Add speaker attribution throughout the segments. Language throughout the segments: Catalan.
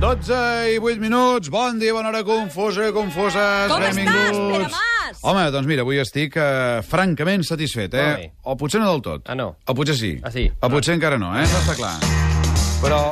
Speaker 1: 12 i 8 minuts. Bon dia, bona hora, confusa, confoses.
Speaker 2: Com estàs,
Speaker 1: benvinguts.
Speaker 2: Pere Mas?
Speaker 1: Home, doncs mira, avui estic eh, francament satisfet, eh?
Speaker 3: Ai.
Speaker 1: O potser no del tot.
Speaker 3: Ah, no.
Speaker 1: O potser sí.
Speaker 3: Ah, sí.
Speaker 1: O potser encara no, eh? No està clar. Però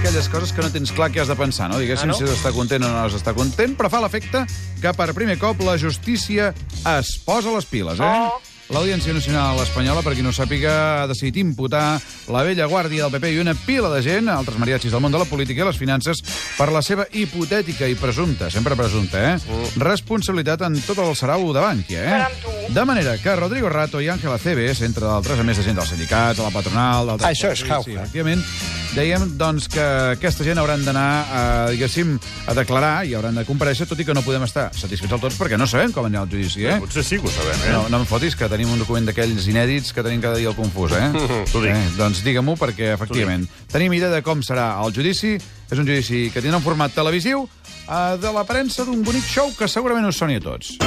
Speaker 1: aquelles coses que no tens clar que has de pensar, no? Diguéssim
Speaker 3: Ah, no?
Speaker 1: si s'està content o no s'està content, però fa l'efecte que per primer cop la justícia es posa les piles, eh?
Speaker 4: Oh.
Speaker 1: L'Audiència Nacional Espanyola, per qui no ho sàpiga, ha decidit imputar la vella guàrdia del PP i una pila de gent, altres mariachis del món de la política i les finances, per la seva hipotètica i presumpta, sempre presumpta, eh?
Speaker 5: Mm.
Speaker 1: Responsabilitat en tot el sarau de Bànquia,
Speaker 4: Caram,
Speaker 1: eh?
Speaker 4: tu.
Speaker 1: De manera que Rodrigo Rato i Ángela Cebes, entre d'altres, a més de gent dels sindicats, de la patronal... Del...
Speaker 5: Això és jauja.
Speaker 1: Sí, efectivament. Dèiem, doncs, que aquesta gent hauran d'anar, a, diguéssim, a declarar i hauran de compareixer, tot i que no podem estar satisfets del tot perquè no sabem com anirà el judici, eh?
Speaker 6: Potser sí que ho sabem, eh?
Speaker 1: No, no em fotis, que tenim un document d'aquells inèdits que tenim cada dia al confús, eh?
Speaker 6: T'ho dic.
Speaker 1: Eh, doncs digue-m'ho, perquè, efectivament, tenim idea de com serà el judici. És un judici que tindrà un format televisiu eh, de l'aparença d'un bonic show que segurament us soni a tots.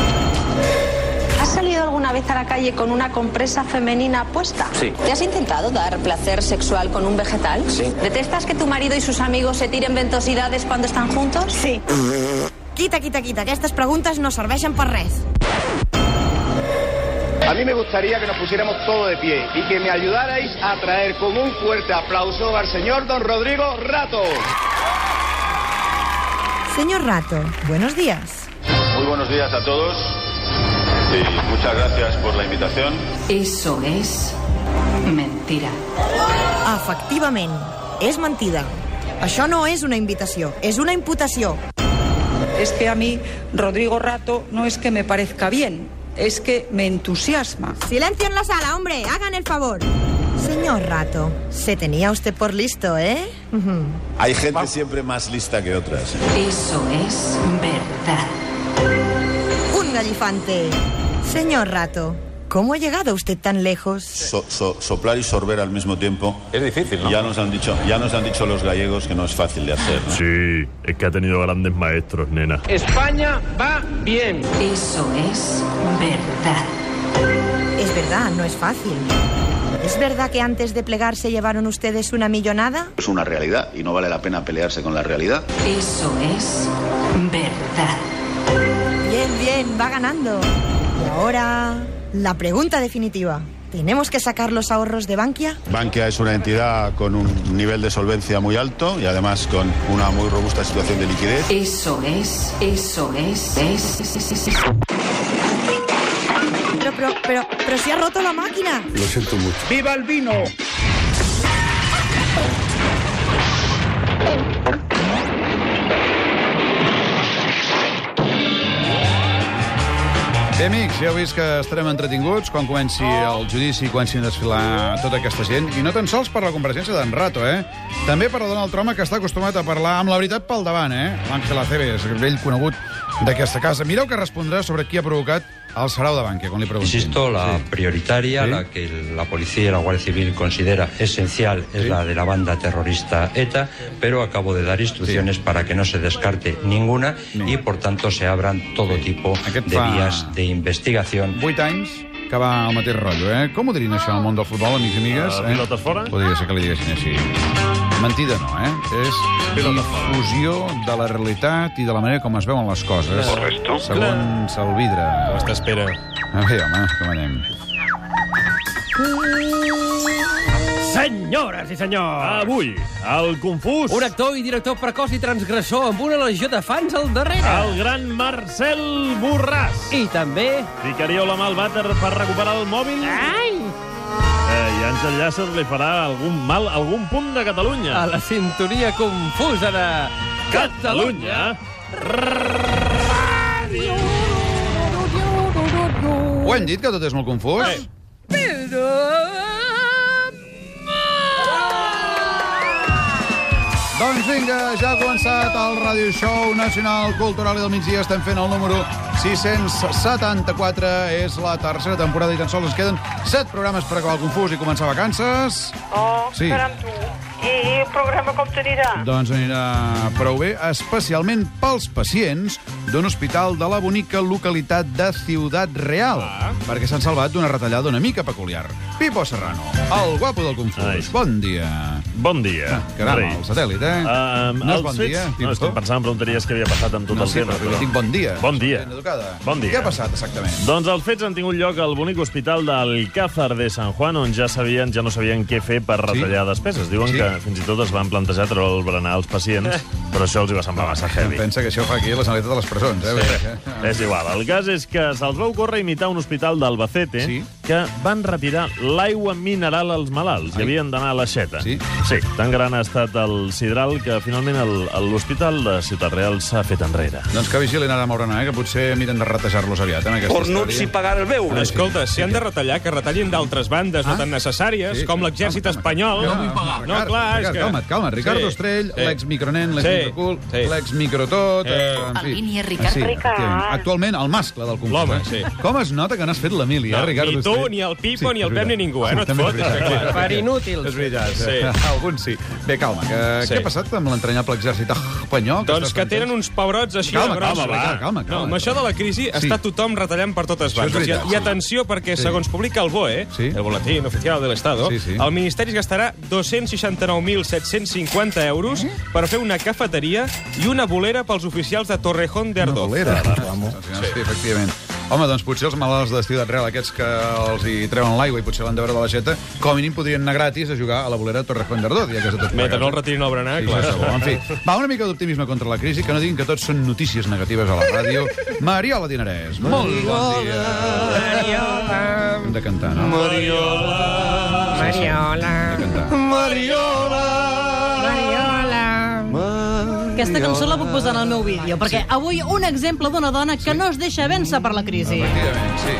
Speaker 7: ¿Has salido alguna vez a la calle con una compresa femenina puesta?
Speaker 8: Sí.
Speaker 7: ¿Te has intentado dar placer sexual con un vegetal?
Speaker 8: Sí.
Speaker 7: ¿Detestas que tu marido y sus amigos se tiren ventosidades cuando están juntos? Sí.
Speaker 2: Quita, quita, quita. Aquestes preguntes no serveixen per res.
Speaker 9: A mí me gustaría que nos pusiéramos todo de pie y que me ayudarais a traer con un fuerte aplauso al señor don Rodrigo Rato.
Speaker 2: Señor Rato, buenos días.
Speaker 9: Muy buenos días a todos y muchas gracias por la invitación.
Speaker 8: Eso es mentira.
Speaker 2: Efectivament, és mentida. Això no és una invitació, és una imputació.
Speaker 10: Es que a mí Rodrigo Rato no es que me parezca bien, es que me entusiasma.
Speaker 2: Silencio en la sala, hombre, hagan el favor. Señor Rato, se tenía usted por listo, ¿eh? Ujú.
Speaker 6: Hay gente siempre más lista que otras. ¿eh?
Speaker 8: Eso es verdad.
Speaker 2: Un gallifante. Señor Rato, ¿cómo ha llegado usted tan lejos?
Speaker 6: So- so- soplar y sorber al mismo tiempo.
Speaker 11: Es difícil, ¿no?
Speaker 6: Ya nos han dicho, ya nos han dicho los gallegos que no es fácil de hacer. ¿no?
Speaker 11: Sí, es que ha tenido grandes maestros, nena.
Speaker 4: España va bien.
Speaker 8: Eso es verdad.
Speaker 2: Es verdad, no es fácil. ¿Es verdad que antes de plegarse llevaron ustedes una millonada?
Speaker 9: Es una realidad y no vale la pena pelearse con la realidad.
Speaker 8: Eso es verdad.
Speaker 2: Bien, bien, va ganando. Y ahora, la pregunta definitiva. ¿Tenemos que sacar los ahorros de Bankia?
Speaker 6: Bankia es una entidad con un nivel de solvencia muy alto y además con una muy robusta situación de liquidez.
Speaker 8: Eso es, eso es, es, es, es, es.
Speaker 2: Pero, pero, pero, pero se ha roto la máquina.
Speaker 4: ¡Viva el vino!
Speaker 1: Bé, amics, ja heu vist que estarem entretinguts quan comenci el judici, quan s'hi desfilar tota aquesta gent. I no tan sols per la compareixença d'en Rato, eh? També per Donald Trump, que està acostumat a parlar amb la veritat pel davant, eh? L'Àngela Cebes, el vell conegut d'aquesta casa. Mireu que respondrà sobre qui ha provocat el sarau de Bankia, quan li preguntin.
Speaker 11: Insisto, la prioritaria,
Speaker 1: Sí.
Speaker 11: la que la policía y la Guardia Civil considera esencial, es la de la banda terrorista ETA, pero acabo de dar instrucciones para que no se descarte ninguna y, por tanto, se abran todo tipo
Speaker 1: Aquest
Speaker 11: de
Speaker 1: fa-
Speaker 11: vías de investigación.
Speaker 1: Vuit anys que va al mateix rotllo, eh? Com ho dirien això al món del futbol, amics i amigues?
Speaker 6: Ah,
Speaker 1: eh?
Speaker 6: pilotes fora?
Speaker 1: Podria ser que li diguessin així. Mentida no, eh? És difusió de la realitat i de la manera com es veuen les coses. Correcto. Segons el vidre.
Speaker 3: Hasta espera.
Speaker 1: A veure, home, com anem?
Speaker 4: Senyores i senyors!
Speaker 11: Avui, al Confús,
Speaker 3: Un actor i director precoç i transgressor amb una legió de fans al darrere.
Speaker 11: al gran Marcel Borràs.
Speaker 3: I també...
Speaker 11: Ficaríeu la mà al vàter per recuperar el mòbil?
Speaker 3: Ai!
Speaker 11: Eh, I Àngel Llàcer li farà algun mal a algun punt de Catalunya.
Speaker 3: A la sintonia confusa de...
Speaker 11: Catalunya.
Speaker 1: Ho hem dit, que tot és molt confús?
Speaker 6: Eh,
Speaker 1: Doncs vinga, ja ha començat el Radio Show Nacional Cultural i del migdia. Estem fent el número 674. És la tercera temporada i tan sols ens queden 7 programes per acabar el confús i començar vacances.
Speaker 4: Oh,
Speaker 1: Sí.
Speaker 4: caram tu.
Speaker 5: I el programa com t'anirà?
Speaker 1: Doncs anirà prou bé, especialment pels pacients d'un hospital de la bonica localitat de Ciudad Real, perquè s'han salvat d'una retallada una mica peculiar. Pipo Serrano, el guapo del confús. Bon dia.
Speaker 12: Bon dia.
Speaker 1: Caram,
Speaker 12: Rei.
Speaker 1: el satèl·lit, eh?
Speaker 12: Um,
Speaker 1: no és bon dia,
Speaker 12: No, estic pensant en preguntaries què havia passat amb tot
Speaker 1: No,
Speaker 12: el
Speaker 1: sí,
Speaker 12: tema.
Speaker 1: però dic bon dia.
Speaker 12: Bon dia. Bon dia.
Speaker 1: Què ha passat, exactament?
Speaker 12: Doncs els fets han tingut lloc al bonic hospital d'Alcázar de San Juan, on ja sabien ja no sabien què fer per retallar despeses. Diuen
Speaker 1: Sí. Eh.
Speaker 12: que fins i tot es van plantejar treure el berenar als pacients, però això els hi va semblar massa heavy.
Speaker 1: Pensa que això fa aquí la Generalitat de les Presons, eh? Vull dir
Speaker 12: Sí.
Speaker 1: que-
Speaker 12: És igual. El cas és que se'ls va ocórrer imitar un hospital d'Albacete sí. que van retirar l'aigua mineral als malalts. Ai. Hi havien d'anar a l'aixeta. Sí? sí, tan gran ha estat el sidral que finalment el- l'hospital de Ciutat Real s'ha fet enrere.
Speaker 1: Doncs que vigilin ara Maurana, eh? que potser miren de retejar-los aviat. En aquesta
Speaker 13: Cornuts i
Speaker 1: història.
Speaker 13: pagar el beure.
Speaker 1: Ah, sí.
Speaker 13: Escolta, si han de retallar, que retallin d'altres bandes
Speaker 3: Ah?
Speaker 13: no tan necessàries,
Speaker 1: Sí,
Speaker 13: com l'exèrcit espanyol.
Speaker 1: Jo vull pagar.
Speaker 13: No, clar, és
Speaker 1: Ricard,
Speaker 13: que...
Speaker 1: Calma't, calma't. Ricardo
Speaker 13: Sí,
Speaker 1: Estrell,
Speaker 13: sí.
Speaker 1: l'ex-micronen, l'ex-microcul, l'ex-microtot... Eh. En fi.
Speaker 8: línia, Ricard.
Speaker 1: Sí,
Speaker 8: Ricard.
Speaker 1: efectivament. Actualment, el mascle del concurs.
Speaker 13: L'home,
Speaker 1: eh?
Speaker 13: sí.
Speaker 1: Com es nota que n'has fet l'Emili, eh,
Speaker 13: No,
Speaker 1: Ricardo
Speaker 13: ni tu,
Speaker 1: Estrell?
Speaker 13: ni el Pipo, ni
Speaker 1: és
Speaker 13: el Pep, ni
Speaker 1: veritat.
Speaker 13: ningú, eh? No et
Speaker 1: també és
Speaker 13: fotis,
Speaker 1: veritat,
Speaker 13: clar.
Speaker 1: clar.
Speaker 13: Per inútils.
Speaker 1: És veritat, eh? sí.
Speaker 13: Sí.
Speaker 1: Alguns sí. Bé, calma, que,
Speaker 13: Sí.
Speaker 1: què ha passat amb l'entranyable exèrcit espanyol?
Speaker 13: Doncs
Speaker 1: està
Speaker 13: que tenen uns pebrots així
Speaker 1: Calma,
Speaker 13: de grossos. eh?
Speaker 1: calma, va, calma, calma.
Speaker 13: No, amb això de la crisi
Speaker 1: Sí.
Speaker 13: està tothom retallant per totes
Speaker 1: Això és
Speaker 13: bandes. I,
Speaker 1: veritat,
Speaker 13: I
Speaker 1: sí.
Speaker 13: atenció, perquè
Speaker 1: Sí.
Speaker 13: segons publica el BOE, el Boletín Oficial de l'Estado,
Speaker 1: Sí, sí.
Speaker 13: el Ministeri es gastarà 269.750 euros
Speaker 1: Eh?
Speaker 13: per fer una cafeteria i una bolera pels oficials de Torrejón de Ardoz.
Speaker 1: bolera. Sí, efectivament. Home, doncs potser els malalts de Ciutat Real, aquests que els hi treuen l'aigua i potser l'han de veure de la xeta, com a mínim podrien anar gratis a jugar a la bolera Torrejón d'Ardoz. Ja que és de tot
Speaker 13: Mentre
Speaker 1: plegat.
Speaker 13: no el retirin al berenar,
Speaker 1: Sí,
Speaker 13: clar.
Speaker 1: això és bo. en fi, va, una mica d'optimisme contra la crisi, que no diguin que tots són notícies negatives a la ràdio. Mariola Dinarès, molt bon dia. Mariola. Hem de cantar, no?
Speaker 14: Mariola.
Speaker 1: Mariola.
Speaker 14: Mariola.
Speaker 15: Mariola.
Speaker 16: Aquesta cançó la puc posar en el meu vídeo, perquè avui un exemple d'una dona que no es deixa vèncer per la crisi.
Speaker 1: Efectivament, sí.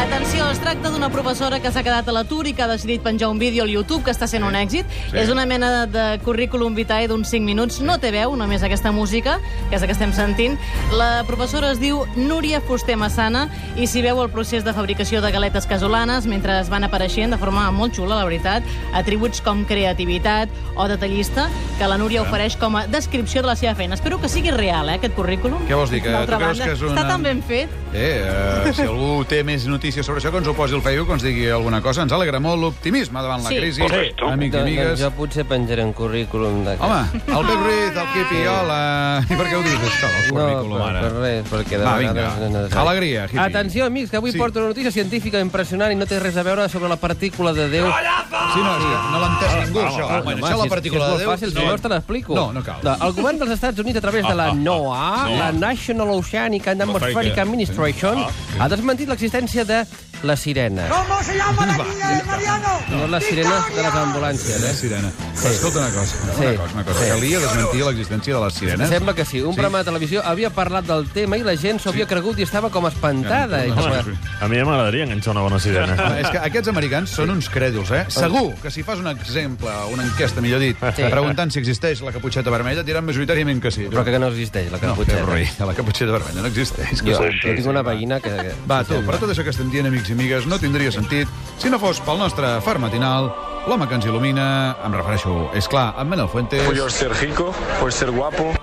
Speaker 16: Atenció, es tracta d'una professora que s'ha quedat a l'atur i que ha decidit penjar un vídeo al YouTube que està sent un èxit.
Speaker 15: Sí.
Speaker 16: És una mena de, de currículum vitae d'uns 5 minuts. No té veu, només aquesta música, que és la que estem sentint. La professora es diu Núria Fuster Massana i s'hi veu el procés de fabricació de galetes casolanes mentre es van apareixent de forma molt xula, la veritat, atributs com creativitat o detallista que la Núria
Speaker 1: Sí.
Speaker 16: ofereix com a descripció de la seva feina. Espero que sigui real, eh, aquest currículum.
Speaker 1: Què vols dir, que
Speaker 16: D'altra
Speaker 1: tu creus
Speaker 16: banda,
Speaker 1: que és una-
Speaker 16: Està tan ben fet.
Speaker 1: Eh, eh, si algú té més notícies sobre això, que ens ho posi al Facebook, que ens digui alguna cosa. Ens alegra molt l'optimisme davant la crisi. Amics i
Speaker 17: Doncs-
Speaker 1: amigues.
Speaker 17: Doncs jo potser penjaré un currículum d'aquest.
Speaker 1: Home, el Pep Ruiz, el Quipi, hola. I per què ho dius, això, el currículum,
Speaker 17: Ah. per-
Speaker 1: ara?
Speaker 17: per res, perquè de
Speaker 1: Va,
Speaker 17: vegades no és
Speaker 1: vinga.
Speaker 17: necessari.
Speaker 1: Alegria, Quipi.
Speaker 17: Atenció, amics, que avui
Speaker 1: Sí.
Speaker 17: porto una notícia científica impressionant i no té res a veure sobre la partícula de Déu.
Speaker 1: Sí, no, és que no l'ha entès ningú, això.
Speaker 17: Ah,
Speaker 1: Bueno,
Speaker 17: home,
Speaker 1: això
Speaker 17: si
Speaker 1: la
Speaker 17: és-
Speaker 1: partícula
Speaker 17: és
Speaker 1: de
Speaker 17: molt
Speaker 1: Déu,
Speaker 17: fàcil,
Speaker 1: no.
Speaker 17: si vols te l'explico.
Speaker 1: No, no cal.
Speaker 17: El govern dels Estats Units, a través de la
Speaker 1: Ah, ah, ah.
Speaker 17: NOAA,
Speaker 1: Sí.
Speaker 17: la National Oceanic and Atmospheric
Speaker 1: Atmospheric,
Speaker 17: Administration,
Speaker 1: Ah,
Speaker 17: ha desmentit l'existència de la sirena.
Speaker 14: ¿Cómo se llama la niña de Mariano?
Speaker 17: No les sirenes de les ambulàncies, eh?
Speaker 1: La sirena. Però escolta una cosa, una
Speaker 17: Sí.
Speaker 1: cosa, una cosa.
Speaker 17: Sí.
Speaker 1: Calia desmentir l'existència de les sirenes?
Speaker 17: Sembla que sí. Un
Speaker 1: Sí?
Speaker 17: programa de televisió havia parlat del tema i la gent s'ho havia cregut i estava com espantada. I eh. com a...
Speaker 12: Home, a mi ja m'agradaria enganxar una bona sirena.
Speaker 1: No, Ah, és que aquests americans són uns crèduls, eh? Segur que si fas un exemple, una enquesta, millor dit,
Speaker 17: Sí.
Speaker 1: preguntant si existeix la caputxeta vermella, diran majoritàriament que sí.
Speaker 17: Però que no existeix, la caputxeta.
Speaker 1: No, Pep Ruiz, la caputxeta vermella no existeix. que
Speaker 17: Jo,
Speaker 1: sí.
Speaker 17: jo tinc una veïna que... que
Speaker 1: Va, tu, però tot això que estem dient, amics i amigues, no tindria sentit si no fos pel nostre far matinal, l'home que ens il·lumina, em refereixo, és clar, en Menel Fuentes...
Speaker 18: Puedo ser rico, puedo ser guapo.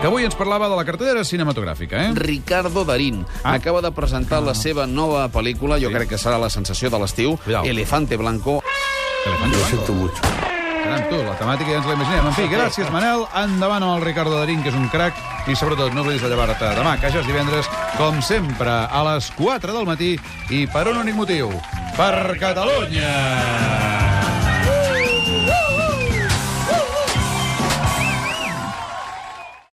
Speaker 1: Que avui ens parlava de la cartellera cinematogràfica, eh?
Speaker 19: Ricardo Darín ah. acaba de presentar la seva nova pel·lícula, jo crec que serà la sensació de l'estiu, Elefante Blanco.
Speaker 1: Elefante Blanco. siento
Speaker 19: mucho.
Speaker 1: Caram, tu, la temàtica ja ens la imaginem. En fi, gràcies, Manel. Endavant amb el Ricardo Darín, que és un crac. I sobretot, no oblidis de llevar-te demà, que ja és divendres, com sempre, a les 4 del matí. I per un únic motiu, per Catalunya!